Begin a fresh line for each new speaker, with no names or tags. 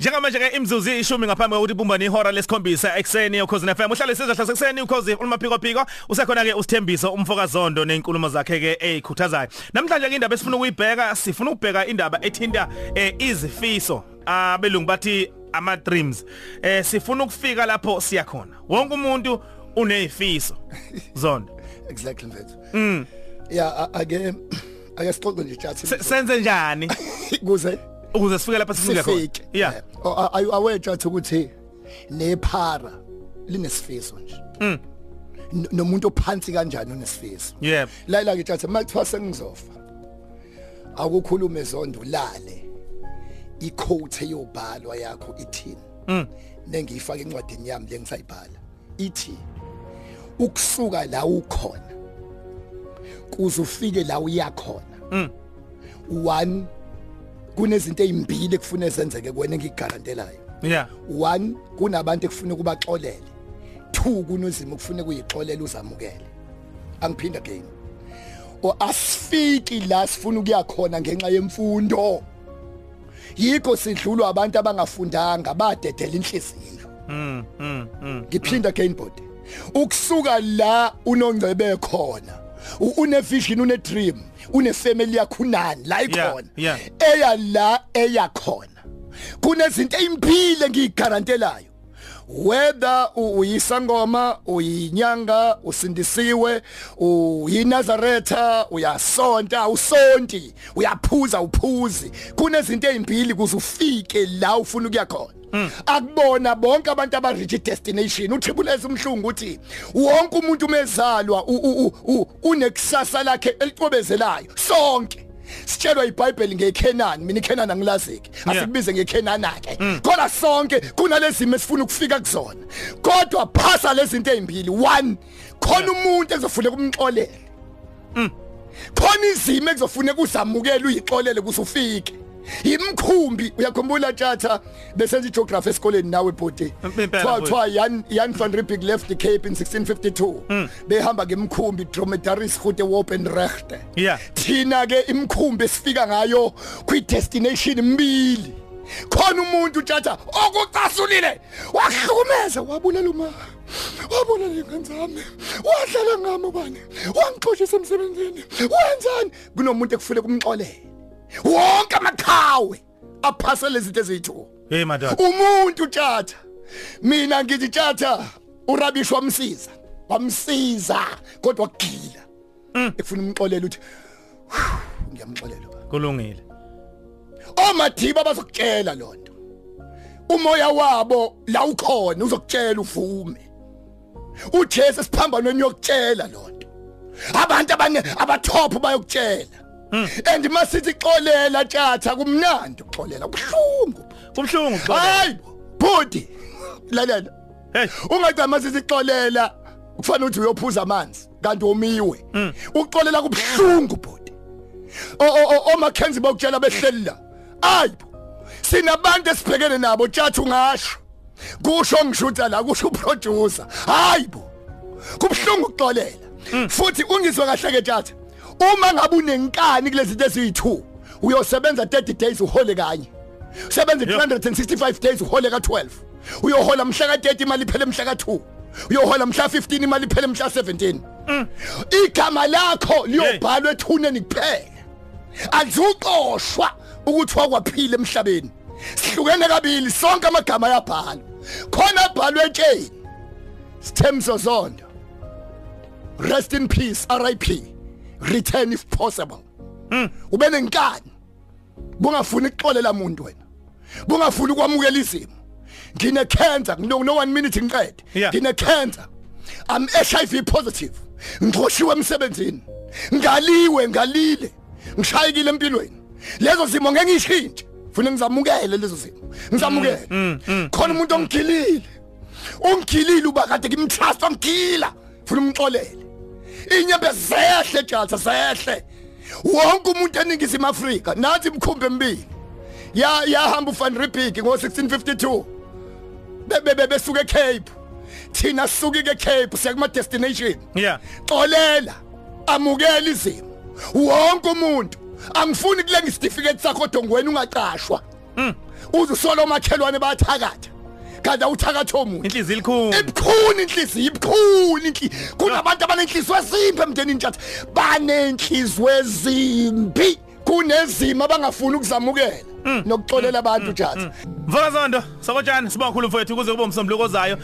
Njengamanje ke imzuzu ishumi ngaphambi kokuthi ibumbane ihora lesikhombisa ekseni yokhosini FM. Uhlale sizwa hlase ekseni ukhosi ulimaphiko phiko. Usekhona ke usithembiso umfokazondo nenkulumo zakhe ke ezikhuthazayo. Namhlanje ke indaba esifuna ukuyibheka, sifuna ukubheka indaba ethinta eh, izifiso. Abelungu bathi ama dreams. Eh sifuna ukufika lapho siya khona. Wonke umuntu unezifiso. Zondo.
exactly mfethu mm yeah a- ake ake sixoxe nje chat
Hmm. Se- Senze njani
kuze
ukuze sifike lapho sifika
sifike
khona? Yeah.
Oh, are are you aware chat ukuthi nephara linesifiso nje
Hmm.
mm nomuntu ophansi kanjani unesifiso
Yeah.
layila ke chat makuthiwa sengizofa akukhulume zondo lale i-quote eyobhalwa yakho ithini nengiyifaka encwadini yami lengisayibhala ithi ukusuka la ukhona kuze ufike la uya khona one kunezinto ezimbili ekufuna ezenzeke kuwena engigarantelayo
Yeah.
one kunabantu ekufuna kubaxolele two kunozima ukufuna kuyixolela uzamukele angiphinda again o asifiki la sifuna ukuya khona ngenxa yemfundo yikho sidlulwa abantu abangafundanga badedela inhliziyo
Mm, mm, mm.
ngiphinda again body ukusuka la unongcebe khona u- une vision une dream une family yakho unani la
Yeah,
ikhona
yeah.
eya la eya khona kunezinto ezimpile ngiyigarantelayo whether u- uyisangoma uyinyanga usindisiwe uyinazaretha uyasonta usonti uyaphuza uphuzi kunezinto ezimpili kuze ufike la ufuna ukuya khona akubona bonke abantu abareach destination uthibuleza umhlungu uthi wonke umuntu umezalwa u- u- u- u- unekusasa lakhe elicobezelayo sonke sitshelwa ibhayibheli ngekhenani mina ikhenani angilaziki asikubize ngekhenana ke kodwa sonke kunalezimo esifuna ukufika kuzona kodwa phasa lezinto ezimbili one khona umuntu ezofuneka umxolele khona izimo ekuzofuneka uzamukele uyixolele kuze ufike imkhumbi uyakhumbula tjatha besenza igeography esikoleni nawe bhoti
Impela
Kuthiwa-
futhi.
kuthiwa Jan Jan van Riebeeck left the Cape in 1652 behamba ngemkhumbi dromedaries route Wopenrecht
Yeah.
thina ke imkhumbi esifika ngayo kwi destination imibili khona umuntu tjatha okucasulile wahlukumeza wabulela uma wabulela ingane zami wadlala ngami bani wangixoshisa emsebenzini wenzani kunomuntu ekufune kumxolele wonke amakhawe aphasele izinto ezithu
Hey madod.
umuntu tjatha mina ngithi tjatha urabish wamsiza wamsiza kodwa gila ekufuna umxolele uthi "Whew, ngiyamxolela baba."
Kulungile.
omadiba bazokutshela lonto umoya wabo la ukhona uzokutshela uvume uJesu siphambano niyokutshela lonto abantu abane abathop bayokutshela and masithi xolela tjatha kumnandi xolela kubhlungu
Kumhlungu. baba.
hayi bhuti lalela
Hey.
ungacama sisixolela kufanele ukuthi uyophuza amanzi kanti umiwe uxolela kubhlungu bhuti O- o- o- omakhenzi bokutshela behleli la hayi bo. sinabantu esibhekene nabo tjathi ungasho kusho ngishuta la kusho uproducer hayi bo kubhlungu ukuxolela futhi ungizwe kahle ke tjathi uma ngabe unenkani kulezi zinto eziyi2 uyosebenza 30 days uhole kanye usebenza
Yep.
365 days uhole ka12 uyohola mhla ka30 imali iphele mhla ka2 uyohola mhla 15 imali iphele mhla 17 igama lakho liyobhalwa ethuneni kuphela azuqoshwa ukuthi wakwaphila emhlabeni sihlukene kabili sonke amagama ayabhalwa khona abhalwe etsheni Sithembiso Zondo Rest in peace RIP return if possible ube nenkani bungafuni ukuxolela umuntu wena bungafuni ukwamukela izimo ngine cancer ngino no 1 minute ngiqede
Yeah.
ngine cancer i'm HIV positive ngqoshiwe emsebenzini ngaliwe ngalile ngishayekile empilweni lezo zimo ngeke ngishintshe ufuna ngizamukele lezo zimo ngizamukele khona umuntu ongigilile ungigilile uba kade ngimtrust ongigila ufuna umxolele inyembe zehle tjatha zehle wonke umuntu eningizimu Afrika nathi imkhumbi emibili ya yahamba uFan Riebeeck ngo1652 bebe besuka eCape thina suka eCape siya kuma destination
Yeah.
xolela amukela izimo wonke umuntu angifuni kule ngisitifiketi sakho dongweni ungaqashwa uzusola omakhelwane bayathakatha kanti awuthakatha omuntu
inhliziyo ilikhulu
ibukhuni inhliziyo ibukhuni inhliziyo kunabantu abanenhliziyo ezimbi emndenini ntshatha banenhliziyo ezimbi kunezimo abangafuni ukuzamukela nokuxolela abantu ntshatha
mfokazondo sokotshani sibonga khulu mfowethu ukuze kube umsombuluko ozayo